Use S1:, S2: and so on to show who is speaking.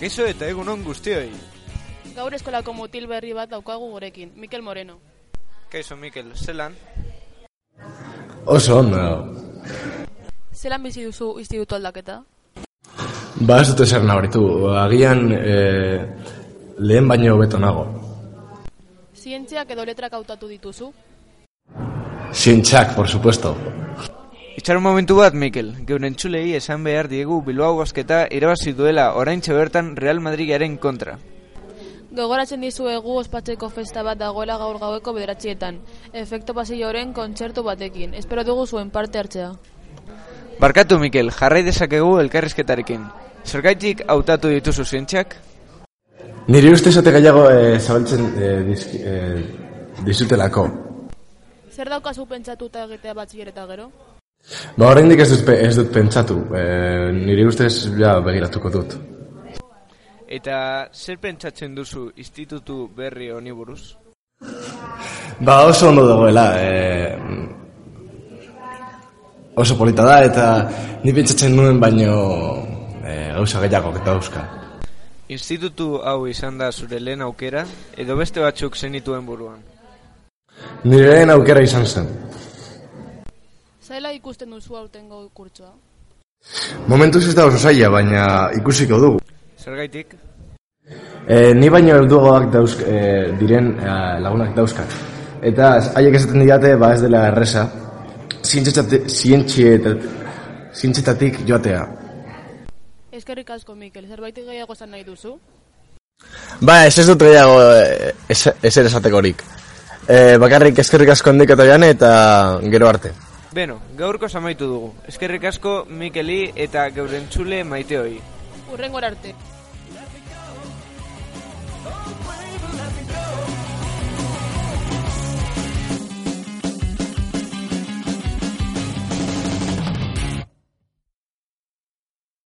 S1: Geixo eta egunon guztioi.
S2: Gaur eskolako mutil berri bat daukagu gurekin, Mikel Moreno.
S1: Kaixo Mikel, zelan?
S3: Oso ondo dago.
S2: Zelan bizi duzu instituto aldaketa?
S3: Ba, ez dut ezer nabaritu. Agian eh, lehen baino hobeto nago.
S2: Zientziak edo letrak hautatu dituzu?
S3: Zientxak, por supuesto.
S1: Itxaron momentu bat, Mikel. Geuren entzulei esan behar diegu Bilbao bozketa irabazi duela oraintxe bertan Real Madridaren kontra.
S2: Gogoratzen dizuegu ospatzeko festa bat dagoela gaur gaueko bederatzietan, efekto pasilloren kontzertu batekin. Espero dugu zuen parte hartzea.
S1: Barkatu, Mikel, jarrai dezakegu elkarrizketarekin. Zergaitik hautatu dituzu zientziak?
S3: Nire uste ezote gehiago eh, zabaltzen eh, dizki- eh, dizutelako.
S2: Zer daukazu pentsatuta egitea batzier eta gero?
S3: Ba, oraindik ez dut, pe- ez dut pentsatu. Eh, nire ustez, ja, begiratuko dut.
S1: Eta zer pentsatzen duzu institutu berri honi buruz?
S3: Ba, oso ondo dagoela. E... Oso polita da eta ni pentsatzen nuen baino e, gauza gehiago eta dauzka.
S1: Institutu hau izan da zure lehen aukera, edo beste batzuk zenituen buruan.
S3: Nire lehen aukera izan zen.
S2: Zaila ikusten duzu aurtengo kurtsoa.
S3: Momentuz ez da oso zaila, baina ikusiko dugu.
S1: Zergaitik?
S3: E, ni baino helduagoak dauzk, e, diren e, lagunak dauzka. Eta haiek esaten didate, ba ez dela erresa, zientzietatik, zientzietatik joatea.
S2: Eskerrik asko, Mikel. Zerbait gehiago esan nahi duzu?
S4: Ba, ez ez dut gehiago eh, ez- ezer esatekorik. E, bakarrik eskerrik asko handik eta jane eta gero arte.
S1: Beno, gaurko amaitu dugu. Eskerrik asko Mikeli eta geurentzule maiteoi.
S2: Urrengor arte.
S5: Let me go.